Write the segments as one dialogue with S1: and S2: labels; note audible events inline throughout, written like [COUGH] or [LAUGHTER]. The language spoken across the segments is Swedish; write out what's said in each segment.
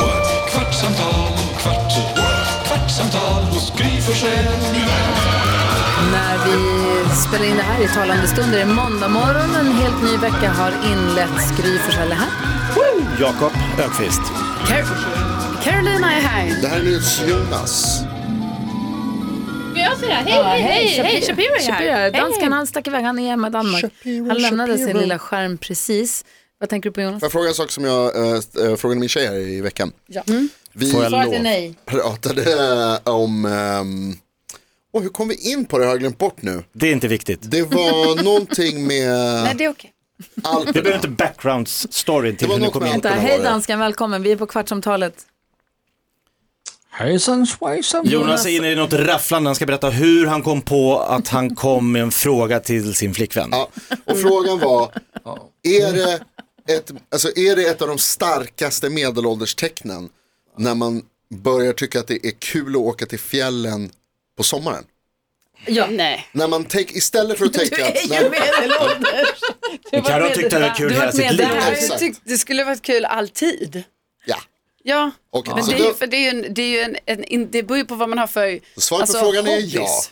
S1: what? kvartsamtal, kvart, what? kvartsamtal hos Gry Forssell med vänner.
S2: När vi spelar in det här i talande stund är det måndag morgon. En helt ny vecka har inletts. Gry Forssell är här.
S3: Jakob Ökvist.
S2: Car- Carolina är här.
S4: Det här är NyhetsJonas.
S5: Men jag säger hej,
S2: Ja,
S5: hej, hej, hej, Shapiro är
S2: Shapiro
S5: här.
S2: Danskan han stack iväg, han är hemma i Danmark.
S4: Shapiro,
S2: han lämnade
S4: Shapiro.
S2: sin lilla skärm precis. Vad tänker du på Jonas?
S4: Får jag fråga en sak som jag eh, st- eh, frågade min tjej här i veckan?
S2: Ja.
S4: Vi
S3: Får jag
S2: Svaret är
S3: lov?
S2: nej.
S4: pratade eh, om, ehm, åh, hur kom vi in på det? Jag har glömt bort nu.
S3: Det är inte viktigt.
S4: Det var någonting
S2: Nej,
S4: med
S2: det är okej.
S3: Vi behöver
S4: Alperna.
S3: inte background storyn
S4: Det
S3: till
S4: var
S3: hur ni
S4: något
S3: kom
S4: med
S3: in.
S2: Vänta,
S4: Alperna var
S2: Hej
S4: det.
S2: danskan, välkommen. Vi är på Kvartsamtalet.
S6: Hejsan svejsan.
S3: Jonas är inne i något rafflande, han ska berätta hur han kom på att han kom med en fråga till sin flickvän.
S4: Ja, och frågan var, är det, ett, alltså, är det ett av de starkaste medelålderstecknen när man börjar tycka att det är kul att åka till fjällen på sommaren?
S2: Ja.
S5: Nej.
S4: När man tänk, istället för att tänka
S2: Du är
S4: att,
S2: ju medelålders.
S3: Men Carro har tyckt att det var kul
S2: Du har
S3: hela
S2: varit
S3: sitt
S2: med
S3: liv.
S2: där.
S5: Jag
S4: Exakt.
S5: tyckte det skulle varit kul alltid.
S4: ja,
S5: Ja,
S4: okej.
S5: men
S4: Så
S5: det, är, ju-
S4: då-
S5: för det, är ju en, det, är ju en, en, in- det beror ju på vad man har för
S4: Svaret på frågan är
S5: hobbies.
S4: ja.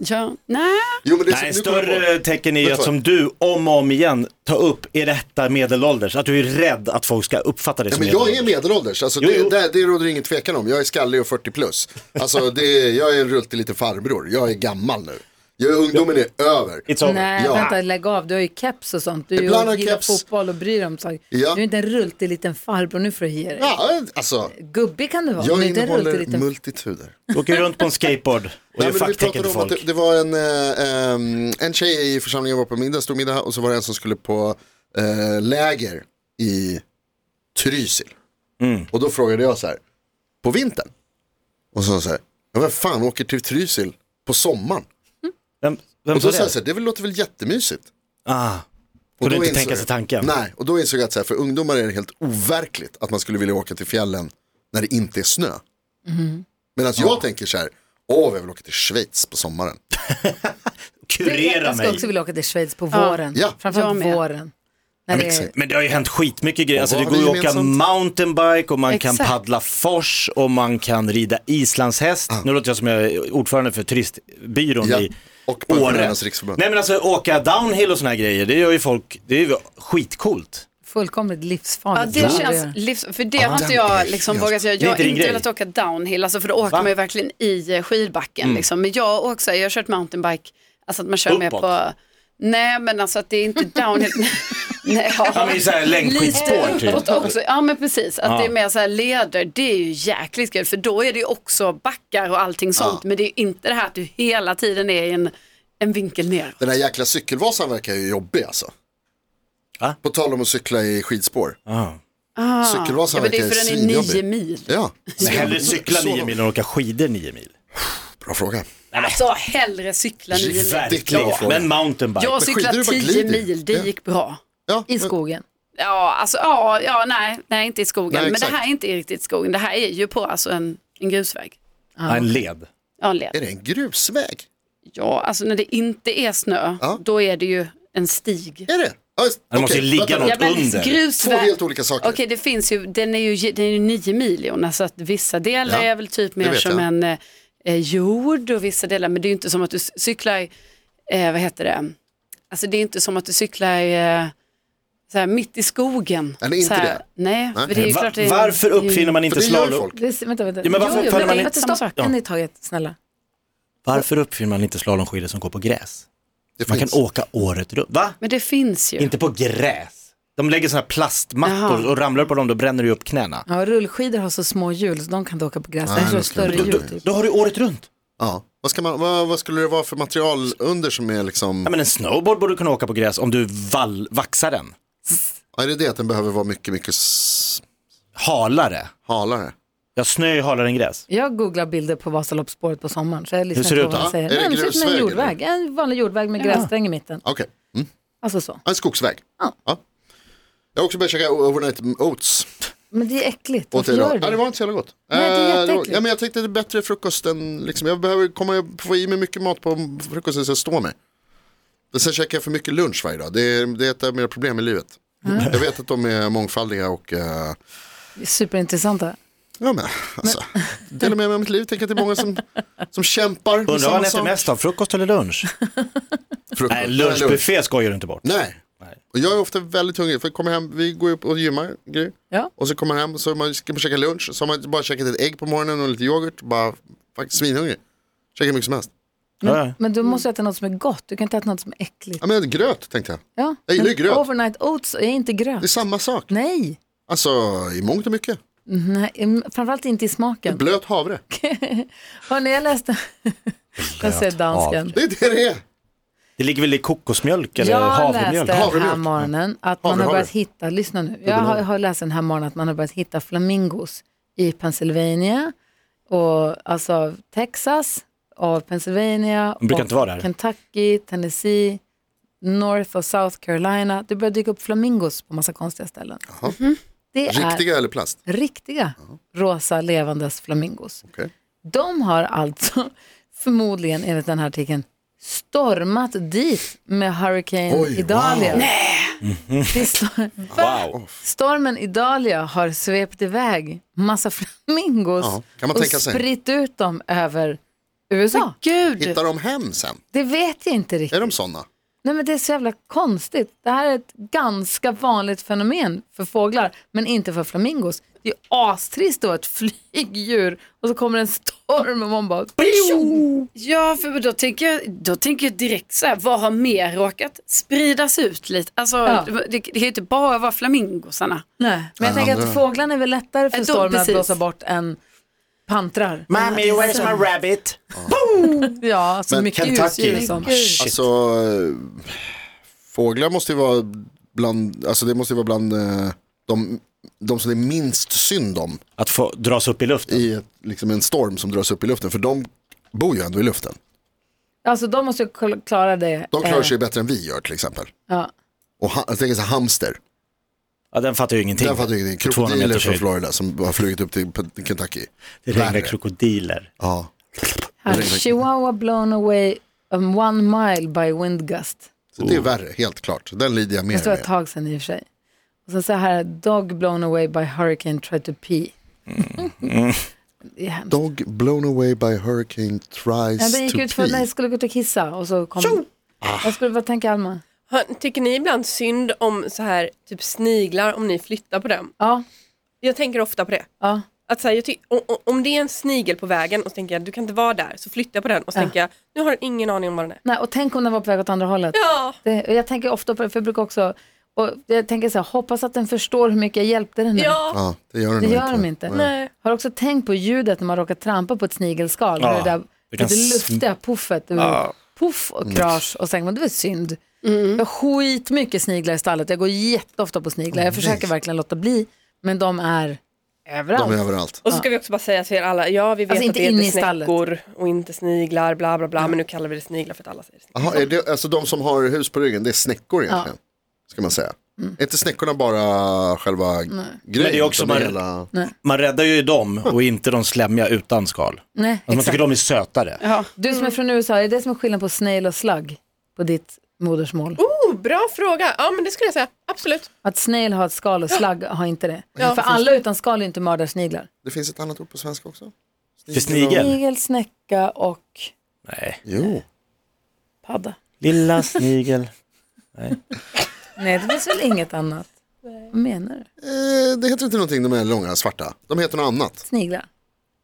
S5: Ja, nej.
S4: Jo, men det är
S3: Nej,
S4: nu kommer jag på-
S3: större tecken är ju
S4: Vet
S3: att
S4: du
S3: som du om och om igen tar upp, är detta medelålders? Att du är rädd att folk ska uppfatta dig
S4: Ja,
S3: som
S4: men jag är
S3: medelålders.
S4: medelålders, alltså,
S3: Jo, jo.
S4: det, det, det råder ingen tvekan om. Jag är skallig och 40 plus. Alltså, det, jag är en rultig liten farbror, jag är gammal nu. Jag, ungdomen är över.
S3: It's over.
S2: Nej,
S4: Ja.
S2: vänta, lägg av. Du har ju keps och sånt. Du
S4: Ibland har
S2: gillar
S4: jag keps.
S2: fotboll och bryr dig om saker.
S4: Ja.
S2: Du är inte en rultig liten farbror nu för att ge dig.
S4: Ja, alltså,
S2: Gubbig kan du vara,
S4: jag
S2: men inte en rultig
S4: innehåller
S2: liten...
S4: multituder.
S3: Åker runt på en skateboard och
S4: Nej,
S3: gör
S4: men vi
S3: facktecken
S4: pratade
S3: till
S4: om att
S3: folk.
S4: det, det var en, eh, ehm, en tjej i församlingen var på middag, stor middag och så var det en som skulle på eh, läger i Trysil.
S3: Mm.
S4: Och då frågade jag så här, på vintern? Och så sa hon så här, "Ja, vem fan åker till Trysil på sommaren?
S3: Vem, vem
S4: Och
S3: sa
S4: då sa jag så
S3: det?
S4: här, det väl- låter väl jättemysigt?
S3: Ah,
S4: Och
S3: Kunde
S4: då
S3: inte
S4: insåg
S3: tänka
S4: jag-
S3: sig tanken.
S4: Nej, och då insåg jag att så här, för ungdomar är det helt overkligt att man skulle vilja åka till fjällen när det inte är snö. Medan jag tänker så här, åh, jag vill åka till Schweiz på sommaren.
S3: kurera
S2: Jag ska
S3: mig.
S2: också vilja åka till Schweiz på våren.
S4: Ja.
S2: Framförallt
S5: Jag med.
S2: våren. När det är...
S3: Men det har ju hänt skitmycket grejer. Alltså, det
S4: vad
S3: går
S4: har
S3: ju
S4: vi
S3: att åka
S4: gemensamt?
S3: mountainbike och man kan
S2: Exakt.
S3: paddla fors och man kan rida islandshäst. Nu låter jag som jag är ordförande för turistbyrån
S4: Ja.
S3: i
S4: Och
S3: Åre.
S4: Pensionärernas riksförbund.
S3: Nej men alltså åka downhill och såna här grejer, det gör ju folk, det är ju skitcoolt.
S2: Fullkomligt
S5: Ja,
S2: livsfarligt.
S5: det
S2: att
S5: känns
S2: göra.
S5: livs... För det
S4: Ja,
S5: har inte
S4: den
S5: jag
S4: är
S5: liksom
S4: helt-
S5: vågat göra.
S3: Det är
S5: Jag
S3: inte
S5: har
S3: din
S5: inte
S3: grej.
S5: velat åka downhill, alltså, för då åker
S3: Va? Mm.
S5: man ju verkligen i eh, skidbacken. Liksom. Men jag också, jag har kört mountainbike, alltså att man kör med
S3: Uppåt.
S5: på... Nej, men alltså att det är
S4: [LAUGHS]
S5: inte downhill. Nej, ja.
S3: Ja men såhär längdskidspår typ.
S5: Uppåt också, ja men precis, att
S3: Ja.
S5: det är mer så här leder, det är ju jäkligt kul för då är det ju också backar och allting sånt men det är ju inte det här att du hela tiden är i en, en vinkel ner.
S4: Den där jäkla cykelvasan verkar ju jobbig alltså.
S3: Va?
S4: På tal om att cykla i skidspår.
S3: Ah.
S4: Cykelvasan
S5: Ja, men det
S4: verkar
S5: är
S4: ju
S5: för den är nio
S4: svinjobbig.
S5: mil.
S4: Ja,
S3: Men hellre cykla
S4: Så-
S3: nio mil än åka skidor nio mil.
S4: bra fråga.
S5: Alltså hellre cykla nio mil.
S3: Verkligen,
S4: klart.
S3: men mountainbike.
S5: Jag
S4: skidor
S5: cyklade
S4: är bara
S5: tio
S4: glider.
S5: mil, det
S4: Ja.
S5: gick bra.
S4: Ja,
S2: I
S4: men-
S2: skogen.
S5: Ja, alltså ja, ja nej, nej inte i skogen.
S4: Nej,
S5: men det
S4: exakt.
S5: här är inte riktigt skogen, det här är ju på alltså en, en grusväg.
S3: Ja, En led.
S5: Ja, en led.
S4: Är det en grusväg?
S5: ja, alltså när det inte är snö,
S4: Ja.
S5: då är det ju en stig.
S4: Är det? Ja, just-
S3: Det måste ju
S4: okej,
S3: ligga
S4: vänta,
S3: något
S5: Ja, men
S3: under.
S4: Två
S5: grusväg.
S4: helt olika saker.
S5: Okej, det finns ju, den är ju, den är ju nio mil Jonas, så att vissa delar
S4: Ja,
S5: är väl typ
S4: det
S5: mer
S4: vet
S5: som
S4: jag.
S5: en eh, eh, jord och vissa delar, men det är ju inte som att du c- cyklar, eh, vad heter det, alltså det är inte som att du cyklar eh, så här, mitt i skogen.
S4: Nej, det är inte
S5: så här,
S4: det.
S5: Nej,
S4: Nej.
S5: för det är ju
S3: Eh, Va-
S5: klart det är,
S3: varför uppfinner man
S4: För
S3: inte
S4: det gör
S3: slalom?
S4: folk.
S2: Det, är- vänta, vänta.
S3: Ja, men varför
S2: Jo, jo,
S3: uppför man
S2: vänta,
S3: inte
S2: vänta,
S5: samma
S2: stopp.
S5: sak?
S2: En i taget, snälla.
S3: Varför uppfinner man inte slalomskidor som går på gräs?
S4: Det
S3: Man kan
S4: finns.
S3: åka året runt. Va?
S5: Men det finns ju.
S3: Inte på gräs. De lägger sådana här plastmattor
S5: Jaha.
S3: och ramlar du på dem då bränner du upp knäna.
S2: Ja, rullskidor har så små hjul så de kan inte åka på gräs.
S4: Nej,
S2: Det här är
S4: de
S2: så
S4: ska
S2: större
S4: inte åka.
S2: hjul. Typ.
S3: Då har du året runt.
S4: Ja. Vad, ska man, vad, vad skulle det vara för material under som är liksom,
S3: Ja, men en snowboard borde du kunna åka på gräs om du vall- vaxar den.
S4: Ja, är det det att den behöver vara mycket, mycket s-
S3: Halare.
S4: halare?
S3: Ja, snö är halare än gräs.
S2: Jag googlar bilder på Vasaloppsspåret på sommaren. Så jag lyssnar
S3: ser det
S2: på
S3: ut
S2: vad
S3: då?
S2: han säger.
S4: Är det
S2: Nej, men ser ut som en
S4: grusväg,
S2: jordväg. En vanlig jordväg med grässträng i mitten.
S4: Okej, mm.
S2: Alltså så.
S4: en skogsväg.
S2: Ja.
S4: Jag har också börjat käka overnight oats.
S2: Men det är äckligt.
S4: Åt
S2: Varför
S4: idag.
S2: gör du
S4: Ja, det
S2: det?
S4: var inte så jävla gott.
S2: Nej, det är
S4: Eh, var-
S2: jätteäckligt.
S4: ja, men jag tänkte det är bättre frukost än, liksom, jag behöver komma, få i mig mycket mat på frukosten så jag står mig. Men sen käkar jag för mycket lunch varje dag, det är, det är ett av mina problem i livet.
S2: Mm.
S4: Jag vet att de är mångfaldiga och eh,
S2: Det är Superintressant. det här.
S4: ja, men, alltså, delar med mig av mitt liv. Tänk att det är många som, som kämpar med
S3: Undrar vad han
S4: samma
S3: äter
S4: sak.
S3: mest av, frukost eller lunch?
S4: Frukost.
S3: Nej, lunchbuffé skojar du inte bort.
S4: Nej. Och jag är ofta väldigt hungrig, för jag kommer hem, vi går upp och gymmar, Gry.
S2: Ja.
S4: Och så kommer jag hem, så man ska man käka lunch, så har man bara käkat ett ägg på morgonen och lite yoghurt, bara faktiskt svinhungrig. Käkar mycket som helst.
S3: Ja, ja.
S2: Men du måste äta något som är gott. Du kan inte äta något som är äckligt.
S4: Ja men gröt tänkte jag.
S2: Ja.
S4: Jag gillar ju
S2: Men
S4: gröt.
S2: Overnight oats är inte
S4: Det är
S2: gröt.
S4: samma sak.
S2: Nej.
S4: Alltså i mångt och mycket.
S2: Nej, mm, framförallt inte i smaken.
S4: Blöt havre.
S2: Hörni, jag
S3: [LAUGHS]
S2: läste... jag ser dansken.
S4: Det är det det är.
S3: Det ligger väl i kokosmjölk eller
S2: Jag
S3: havremjölk?
S2: läste den här
S4: Havremjölk.
S2: morgonen att man
S4: Havre,
S2: har
S4: havre.
S2: börjat hitta, lyssna nu, jag har, har läst den här morgonen att man har börjat hitta flamingos i Pennsylvania och alltså Texas och Pennsylvania
S3: De brukar
S2: och
S3: inte vara där.
S2: Kentucky, Tennessee, North och South Carolina. Det börjar dyka upp flamingos på massa konstiga ställen. Mhm.
S4: Jaha.
S2: Det är
S4: Riktiga eller plast?
S2: riktiga rosa levandes flamingos.
S4: Okej.
S2: De har alltså [LAUGHS] förmodligen enligt den här artikeln stormat dit med Hurricane
S4: Oj,
S2: Idalia.
S4: wow. Mhm.
S2: Nej.
S3: Wow.
S2: Stormen Idalia har svept iväg massa [LAUGHS] flamingos
S4: Ja, kan man
S2: och
S4: tänka sig.
S2: spritt ut dem över USA.
S5: Gud,
S4: Hittar de hem sen?
S2: Det vet jag inte riktigt.
S4: Är de sådana?
S2: Nej, men det är så jävla konstigt. Det här är ett ganska vanligt fenomen för fåglar, men inte för flamingos. Det är ju astrist då, ett [LAUGHS] flygdjur och så kommer en storm och man bara...
S5: ja för då tänker, jag, då tänker jag direkt så här, vad har mer råkat spridas ut lite? Alltså
S2: Ja.
S5: det, det kan ju inte bara vara flamingosarna.
S2: Nej, men jag
S4: Ja,
S2: tänker
S4: det-
S2: att fåglarna är väl lättare för
S5: Äh, Då-
S2: stormen att
S5: precis.
S2: blåsa bort än pantrar. Mm.
S3: Mommy, where's my rabbit?
S2: Ja, så
S4: Men
S2: mycket
S3: Kentucky.
S2: husdjur liksom. som...
S3: Shit.
S4: Alltså eh, fåglar måste ju vara bland, alltså det måste ju vara bland eh, de, de som det är minst synd om
S3: Att få dras upp i luften.
S4: i ett, liksom en storm som dras upp i luften. För de bor ju ändå i luften.
S2: Alltså de måste ju kl- klara det.
S4: De klarar
S2: eh,
S4: sig ju bättre än vi gör till exempel.
S2: Ja.
S4: Och ha, jag tänker så här, hamster.
S3: Ja, den fattar ju ingenting.
S4: Den fattar jag ingenting.
S3: 200 meter
S4: Krokodiler från
S3: höjd.
S4: Florida som har flugit upp till P- Kentucky.
S3: Det regnar
S4: Värre.
S3: krokodiler.
S4: Ja.
S2: Här, Chihuahua blown away um, one mile by wind gust.
S4: Så
S3: Oh.
S4: det är värre, helt klart. Den lider jag mer
S2: Det var ett
S4: med.
S2: tag sedan i och för sig. Och sen så här, dog blown away by hurricane tried to pee.
S4: Mm.
S2: [LAUGHS] Det är hemskt.
S4: Dog blown away by hurricane
S2: Nej,
S4: tries
S2: den gick
S4: to
S2: ut för, nej,
S4: pee.
S2: jag skulle gå ut och kissa och så kom... Vad, skulle, vad tänker Alma?
S7: Hör- Tycker ni ibland synd om så här typ sniglar om ni flyttar på dem?
S2: Ja,
S7: Jag tänker ofta på det.
S2: ja.
S7: Att så här, jag ty- o- o- om det är en snigel på vägen och så tänker jag du kan inte vara där så flyttar jag på den och så
S2: Ja.
S7: tänker jag nu har den ingen aning om vad den är.
S2: Nej, och tänk om den var på väg åt andra hållet.
S7: Ja,
S2: Det, och jag tänker ofta på det, för jag brukar också... Och jag tänker så här, hoppas att den förstår hur mycket jag hjälpte den. med.
S7: ja,
S4: Ja, det gör den
S2: Det
S4: nog
S2: gör de inte.
S7: nej.
S2: Har också tänkt på ljudet när man råkar trampa på ett snigelskal.
S3: Ja,
S2: med det där
S3: det kan
S2: lite
S3: sm- Mm.
S2: luftiga puffet. Det var Puff och krasch och sen, men det var synd.
S7: Mm.
S2: Jag har skitmycket sniglar i stallet. Jag går jätteofta på sniglar. Jag försöker verkligen låta bli, men de är överallt.
S4: De är överallt.
S7: Och så ska vi också bara säga till er alla, ja vi vet
S2: Alltså,
S7: att
S2: inte
S7: det
S2: in i
S7: heter
S2: stallet.
S7: snäckor och inte sniglar bla bla bla men nu kallar vi det sniglar för att alla säger sniglar.
S4: Aha, är det, alltså de som har hus på ryggen, det är snäckor egentligen. Ska man säga. Är inte snäckorna bara själva grejen?
S3: Men det är också
S4: utan
S3: man-
S4: hela...
S3: Man räddar ju dem och inte de slemmiga utan skal.
S2: Nej,
S3: Alltså man
S2: exakt.
S3: tycker de är sötare.
S2: Du
S7: Mm.
S2: som är från USA, är det det som är skillnaden på snail och slug på ditt modersmål?
S7: Oh, bra fråga, ja men det skulle jag säga, absolut.
S2: Att snail har ett skal och slug har inte det.
S7: Ja.
S2: För alla utan skal är inte mördarsniglar.
S4: Det finns ett annat ord på svenska också.
S3: För snigel?
S2: Snigel, snäcka och
S3: Nej.
S4: Jo.
S2: padda.
S3: Lilla [LAUGHS] snigel.
S2: Nej, det finns väl inget annat. Vad menar du?
S4: Eh, det heter inte någonting de här långa svarta. De heter något annat.
S2: Sniglar.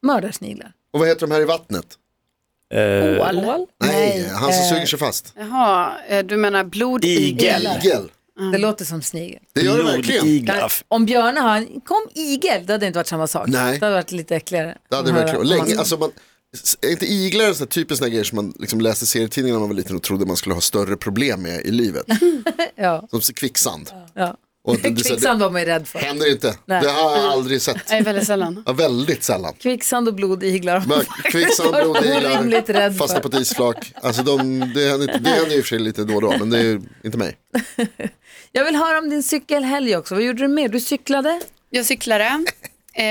S2: Mördarsniglar.
S4: Och vad heter de här i vattnet?
S3: Eh,
S2: Ål.
S4: Nej, han som
S2: eh,
S4: suger sig fast.
S5: Jaha, eh, du menar blodigel?
S3: Igel.
S4: Igel.
S7: Mm.
S2: Det låter som snigel.
S4: Det gör det verkligen.
S3: Blodiglar.
S2: Om björnar har en, kom igel, det hade inte varit samma sak.
S4: Nej.
S2: Det hade varit lite äckligare.
S4: Det hade
S2: Att höra
S4: verkligen,
S2: om man-
S4: länge, alltså man, s- är inte iglar en sån här typisk sån här grej som man liksom läste i serietidningar när man var liten och trodde man skulle ha större problem med i livet?
S2: [LAUGHS] Ja,
S4: Som s- kvicksand.
S2: ja.
S4: Och det, det, det
S2: Kvicksand var man ju rädd för.
S4: händer inte.
S2: Nej.
S4: Det har jag aldrig sett.
S5: Nej, väldigt sällan.
S4: Ja, väldigt sällan.
S2: Kvicksand och blodiglar.
S4: Men
S2: [LAUGHS]
S4: Kvicksand,
S2: Orimligt
S4: blodiglar,
S2: rädd
S4: fastna
S2: för.
S4: på ett isflak. Alltså de, det, händer, inte- det händer ju i och för sig lite då och då, men det är ju inte mig.
S2: Jag vill höra om din cykelhelg också. Vad gjorde du mer? Du cyklade?
S5: Jag cyklade. Eh,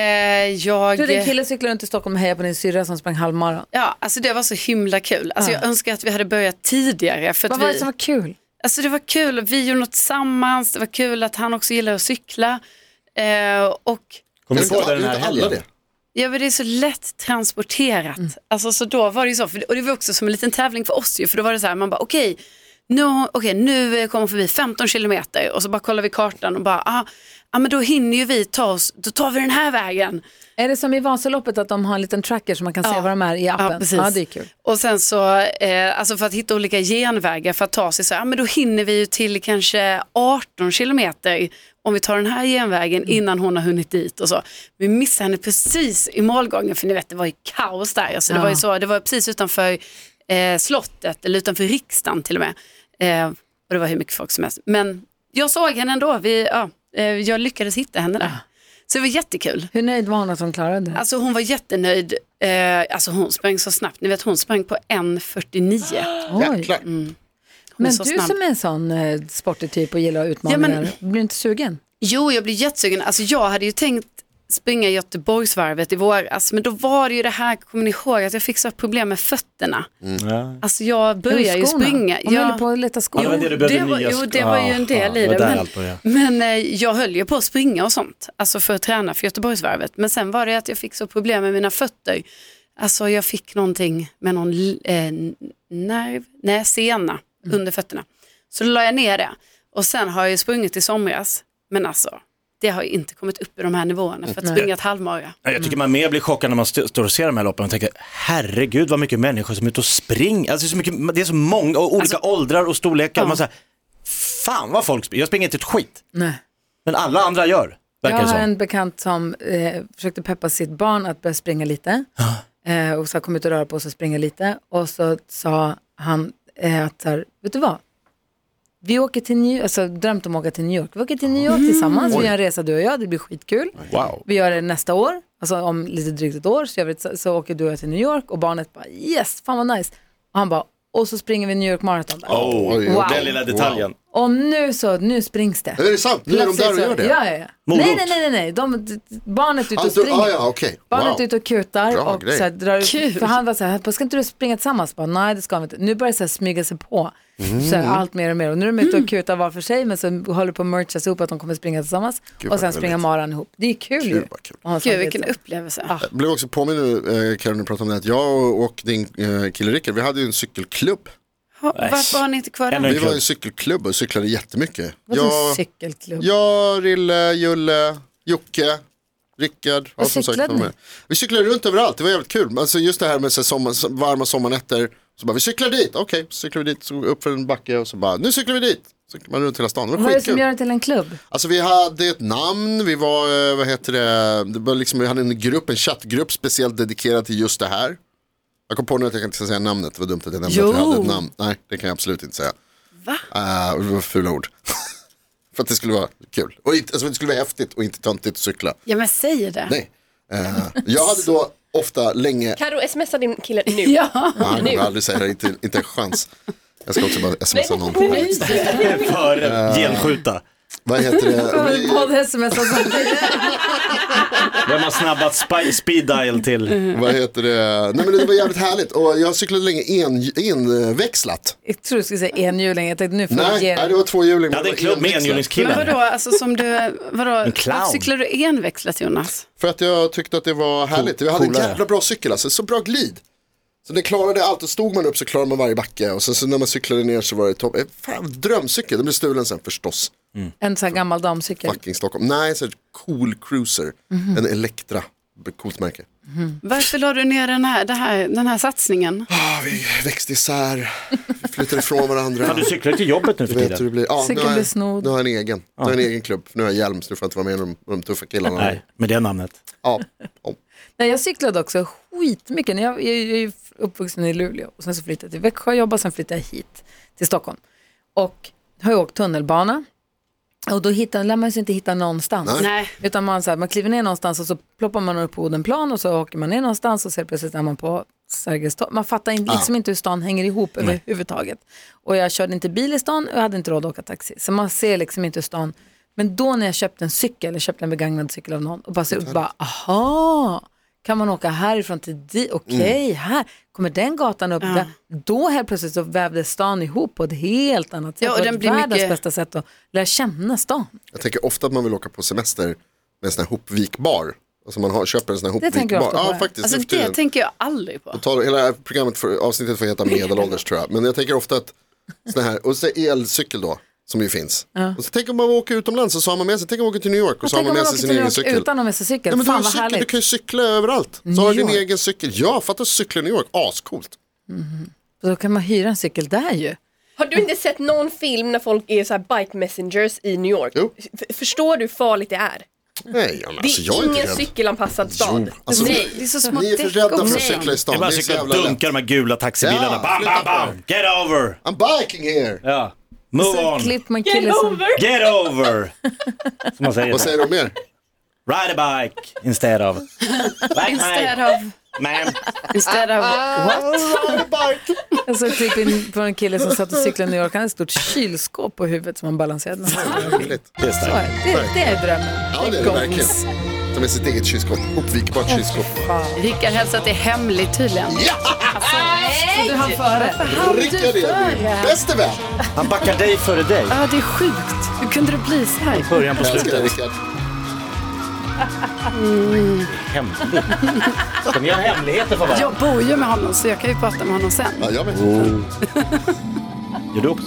S5: jag...
S2: Du, din kille cyklade runt i Stockholm och hejade på din syrra som sprang halvmara.
S5: Ja, alltså det var så himla kul. Alltså
S2: Ja.
S5: jag önskar att vi hade börjat tidigare. För
S2: Vad
S5: att
S2: var det
S5: vi...
S2: som var kul?
S5: Alltså det var kul, vi gjorde något tillsammans, det var kul att han också gillar att cykla. Eh, och
S3: Kommer
S4: Kan
S3: du på
S4: inte-
S3: det den här
S4: kan inte alla
S3: helgen?
S4: det?
S5: ja, men det är så lätt transporterat. Alltså så då var det ju så, för, och det var också som en liten tävling för oss ju, för då var det så här, man bara okej, nu, okej, nu eh, kommer hon förbi 15 kilometer och så bara kollar vi kartan och bara, ah, ja men då hinner ju vi ta oss, då tar vi den här vägen.
S2: Är det som i Vasaloppet att de har en liten tracker så man kan se
S5: Ja.
S2: var de är i appen?
S5: Ja, precis.
S2: det är kul.
S5: Och sen så, eh, alltså för att hitta olika genvägar för att ta sig så, ja men då hinner vi ju till kanske 18 kilometer om vi tar den här genvägen
S2: Mm.
S5: innan hon har hunnit dit och så. Vi missade henne precis i målgången för ni vet det var ju kaos där. Alltså, det,
S2: Ja.
S5: var ju så, det var precis utanför eh, slottet eller utanför riksdagen till och med. Eh, och det var hur mycket folk som helst. Men jag såg henne ändå, vi, ja, eh, jag lyckades hitta henne där. Så det var jättekul.
S2: Hur nöjd var hon att hon klarade det?
S5: Alltså hon var jättenöjd. Eh, alltså hon sprang så snabbt. Ni vet hon sprang på 1.49.
S2: Oj.
S4: Jäklar.
S5: Hon är
S2: Men
S5: så
S2: du
S5: snabb.
S2: som är en sån eh, sportig typ och gillar utmaningar,
S5: Ja,
S2: blir du inte sugen?
S5: Jo, jag blir jättesugen. Alltså jag hade ju tänkt springa Göteborgsvarvet i våras. Men då var det ju det här, kommer ni ihåg, att jag fick så här problem med fötterna.
S3: Ja.
S5: Alltså jag började ju
S2: Skorna.
S5: springa.
S2: Hon
S5: Jag-
S2: höll på att leta skor.
S3: det var det du behövde
S5: det var,
S3: nya
S5: jo,
S3: skor.
S5: det var ju en
S3: Aha,
S5: del i
S3: det var
S5: det.
S3: där
S5: Men,
S3: allt började.
S5: men eh, jag höll ju på att springa och sånt, alltså för att träna för Göteborgsvarvet. Men sen var det att jag fick så problem med mina fötter. Alltså jag fick någonting med någon l- eh, nerv, nej sena
S3: Mm.
S5: under fötterna. Så då la jag ner det. Och sen har jag ju sprungit i somras, men alltså det har ju inte kommit upp i de här nivåerna för att springa ett halvmara.
S3: Ja, Jag tycker man mer blir chockad när man st- står och ser de här loppen och tänker herregud vad mycket människor som är ute och springer. Alltså, det, är så mycket, det är så många, och olika
S2: Alltså-
S3: åldrar och storlekar. Man säger, fan vad folk springer, jag springer inte ett skit.
S2: Nej.
S3: Men alla andra gör, verkar
S2: Jag
S3: det
S2: har
S3: som.
S2: en bekant som eh, försökte peppa sitt barn att börja springa lite. Eh, och så kom ut och röra på sig och springa lite. Och så sa han eh, att så här, vet du vad? Vi åker till New York, alltså drömt om att åka till New York. Vi åker till New
S3: Mm.
S2: York tillsammans, vi gör en resa du och jag, det blir skitkul.
S4: Wow.
S2: Vi gör det nästa år, alltså om lite drygt ett år så, gör vi, ett- så, så åker du och jag till New York och barnet bara yes, fan vad nice. Och han bara, och så springer vi New York Marathon där.
S3: Oh,
S4: Oj, oj,
S2: Wow.
S4: oj.
S3: Den lilla detaljen.
S2: Och nu så, nu springs det.
S4: Är det sant? Nu är de där och gör det?
S2: Ja, ja, ja.
S3: Morot.
S2: Nej, nej, nej, nej, nej. De, d- d- barnet är ute
S4: Ah,
S2: och
S4: du,
S2: springer.
S4: ah, ja, okej.
S2: Barnet är
S4: Wow.
S2: ute och kutar.
S4: Bra
S2: och
S4: grej.
S2: så här, drar,
S5: Kul.
S2: För han var så här, ska inte du springa tillsammans? Bara, Nej, det ska vi inte. Nu börjar det så här smyga sig på.
S4: Mm.
S2: Så här, allt mer och mer. Och nu är de ute och kutar var för sig, men så håller på att merchas ihop att de kommer springa tillsammans. och
S4: vad
S2: sen
S4: härligt.
S2: springa maran ihop. Det är kul, ju.
S4: vad kul.
S2: att
S3: Alltså,
S2: ha en sån
S5: Gud vilken
S2: resa.
S5: upplevelse.
S3: Ah.
S2: Ja.
S4: Jag blev också påminn nu, eh, Karin, när du pratade om det, att jag och, och din eh, kille Rickard, vi hade ju en cykelklubb.
S5: Ha, varför har ni inte kvar
S3: Ännu
S5: den?
S3: en
S4: Vi var
S3: klubb.
S4: i en cykelklubb och cyklade jättemycket.
S2: Vadå
S4: Jag,
S2: cykelklubb?
S4: jag, Rille, Julle, Jocke, Rickard.
S2: Vad cyklade
S4: de
S2: ni?
S4: är med. Vi cyklade runt överallt, det var jävligt kul. Alltså just det här med så här sommar, varma sommarnätter. Så bara, vi cyklar dit, okej, så cyklar vi dit, så upp för en backe och så bara, nu cyklar vi dit. Så cyklar man runt hela stan, det var
S2: Vad är det som
S4: skitkul.
S2: gör det till en klubb?
S4: Alltså vi hade ett namn, vi var, eh, vad heter det, det var liksom, vi hade en grupp, en chattgrupp speciellt dedikerad till just det här. Jag kom på nu att jag inte ska säga namnet, det var dumt att jag nämnde
S5: Jo.
S4: att vi hade ett namn. Nej, det kan jag absolut inte säga.
S5: Va?
S4: Eh, det var fula ord. [LAUGHS] För att det skulle vara kul. Och inte, alltså, det skulle vara häftigt och inte töntigt att cykla.
S5: Ja men säg det.
S4: Nej. Eh, jag hade då ofta länge,
S7: Karo, smsa din kille nu.
S5: [LAUGHS] Ja.
S4: Nej, han kommer aldrig säga det, inte, inte en chans. Jag ska också bara smsa någon.
S3: [LAUGHS] För genskjuta.
S4: Vad heter det? Vi-
S2: Podd-sms och sånt.
S3: Vem har snabbat spi- speed dial till?
S4: Vad heter det? Nej men det var jävligt härligt och jag cyklade länge en, enväxlat.
S2: [LAUGHS] Jag tror du skulle säga enhjuling. Jag tänkte nu får jag
S4: Nej,
S2: ge
S4: nej, det var tvåhjuling.
S3: Jag hade en klubb med
S5: Men
S3: enhjulingskillen.
S5: vadå, alltså som du, vadå,
S3: clown.
S5: varför cyklar du enväxlat Jonas?
S4: För att jag tyckte att det var härligt. Vi hade en
S3: Coolare.
S4: jävla bra cykel, alltså, så bra glid. Så den klarade allt och stod man upp så klarade man varje backe och sen så när man cyklade ner så var det topp. Eh, Fan, drömcykel, den blev stulen sen förstås.
S2: en sån här gammal damcykel.
S4: Fucking Stockholm. Nej, så här cool cruiser, en Electra, coolt märke.
S5: Varför la du ner den här, det här, den här satsningen?
S4: Ah, vi växte isär, vi flyttade ifrån varandra.
S3: Fan, du cyklar till jobbet nu för
S4: Du vet hur
S3: tiden.
S4: det blir. Ja, nu,
S2: Cykeln
S4: har
S2: blir
S4: jag,
S2: snodd.
S4: nu har jag en egen. Nu har jag en egen klubb. Nu har jag hjälm så nu får jag inte vara med i de, de tuffa killarna.
S3: Nej, med det namnet.
S4: Ja. Ja.
S2: Nej, jag cyklade också skitmycket. När Jag, jag, jag är ju uppvuxen i Luleå och sen så flyttade jag till Växjö och jobbade, sen flyttade jag hit till Stockholm. Och har ju åkt tunnelbana Och då hittar, lär man sig inte hitta någonstans.
S5: Nej.
S2: Utan man, så här, man kliver ner någonstans och så ploppar man upp på Odenplan och så åker man ner någonstans och så helt plötsligt är man på Sergels torg. Man fattar in, liksom inte hur stan hänger ihop överhuvudtaget. Och jag körde inte bil i stan och jag hade inte råd att åka taxi. Så man ser liksom inte hur stan. Men då när jag köpte en cykel, jag köpte en begagnad cykel av någon och bara ser upp bara, aha, kan man åka härifrån till dit? Okej,
S5: Mm.
S2: här kommer den gatan upp. Där. Då helt plötsligt så vävdes stan ihop på ett helt annat sätt.
S5: Ja, och
S2: Det
S5: den
S2: var
S5: blir
S2: världens
S5: mycket-
S2: bästa sätt att lära känna stan.
S4: Jag tänker ofta att man vill åka på semester med en sån här hopvikbar. Alltså man har, köper en sån här
S2: Det tänker jag
S4: hopvikbar.
S2: ofta på,
S4: Ja,
S2: ja.
S4: faktiskt.
S5: Alltså
S4: nu för
S5: det
S4: tiden.
S5: tänker jag aldrig på.
S4: Tar, hela programmet för, avsnittet får heta medelålders tror jag. Men jag tänker ofta att sån här, och så elcykel då, som ju finns. Och så tänk om man åker utomlands och så har man med sig, tänk om man åker till New York och så har
S2: Tänk
S4: man
S2: om
S4: med
S2: man
S4: sig
S2: åker till
S4: sin
S2: New
S4: egen
S2: York
S4: cykel.
S2: utan att ha med sig cykel.
S4: Ja, men du, har
S2: Fan
S4: ju
S2: vad
S4: cykel, du
S2: härligt.
S4: kan ju cykla överallt. Så
S2: New
S4: har du din
S2: York.
S4: egen cykel. Ja, fatta cykla i New York, ascoolt.
S2: Då kan man hyra en cykel där ju.
S7: Har du inte sett någon film när folk är så här bike messengers i New York?
S4: Jo.
S7: F- förstår du hur farligt det är?
S4: Nej, ja,
S7: Det är
S4: men alltså jag är
S7: ingen
S4: inte rädd.
S7: cykelanpassad stad.
S4: Jo, alltså,
S5: Nej, det är så små
S4: ni är för
S5: däck
S4: rädda
S5: och-
S4: för att
S5: Nej.
S4: cykla i
S3: Det
S4: stan.
S3: är
S4: Det
S3: bara
S4: är
S3: att
S4: så
S3: cykla och
S4: jävla lätt.
S3: dunka de här gula taxibilarna.
S4: Ja,
S3: bam,
S4: flytta
S3: bam,
S4: på
S3: bam! Get over!
S4: I'm biking here!
S3: Ja. Move
S2: Så
S3: on!
S2: klipp man kille som...
S3: Get over! Som man säger.
S4: Vad säger du mer?
S3: Ride a bike instead of. Like
S5: Instead
S3: my,
S5: of,
S3: ma'am.
S5: instead of,
S2: Ah. [LAUGHS] Jag såg ett klipp in från en kille som satt och cyklade i New York. Han hade ett stort kylskåp på huvudet som han balanserade med.
S4: Roligt.
S3: Det är
S2: Så
S3: starkt.
S2: är det. Det, det är drömmen.
S4: Ja, det är det
S2: Goals.
S4: verkligen. Ta med sitt eget kylskåp, hopvikbart kylskåp.
S5: Rickard hälsar att det är hemligt tydligen.
S2: Så Du hann före.
S4: Rickard är bäste vän.
S3: Han backar dig före dig.
S5: Ja, det är sjukt. Hur kunde det bli så här?
S3: Början på
S4: Jag älskar dig
S3: slutet.
S4: Rickard.
S3: Hemligt. Ska ni ha hemligheter för varandra?
S5: Jag bor ju med honom så jag kan ju prata med honom sen.
S4: Ja, jag vet.
S3: Gör du också?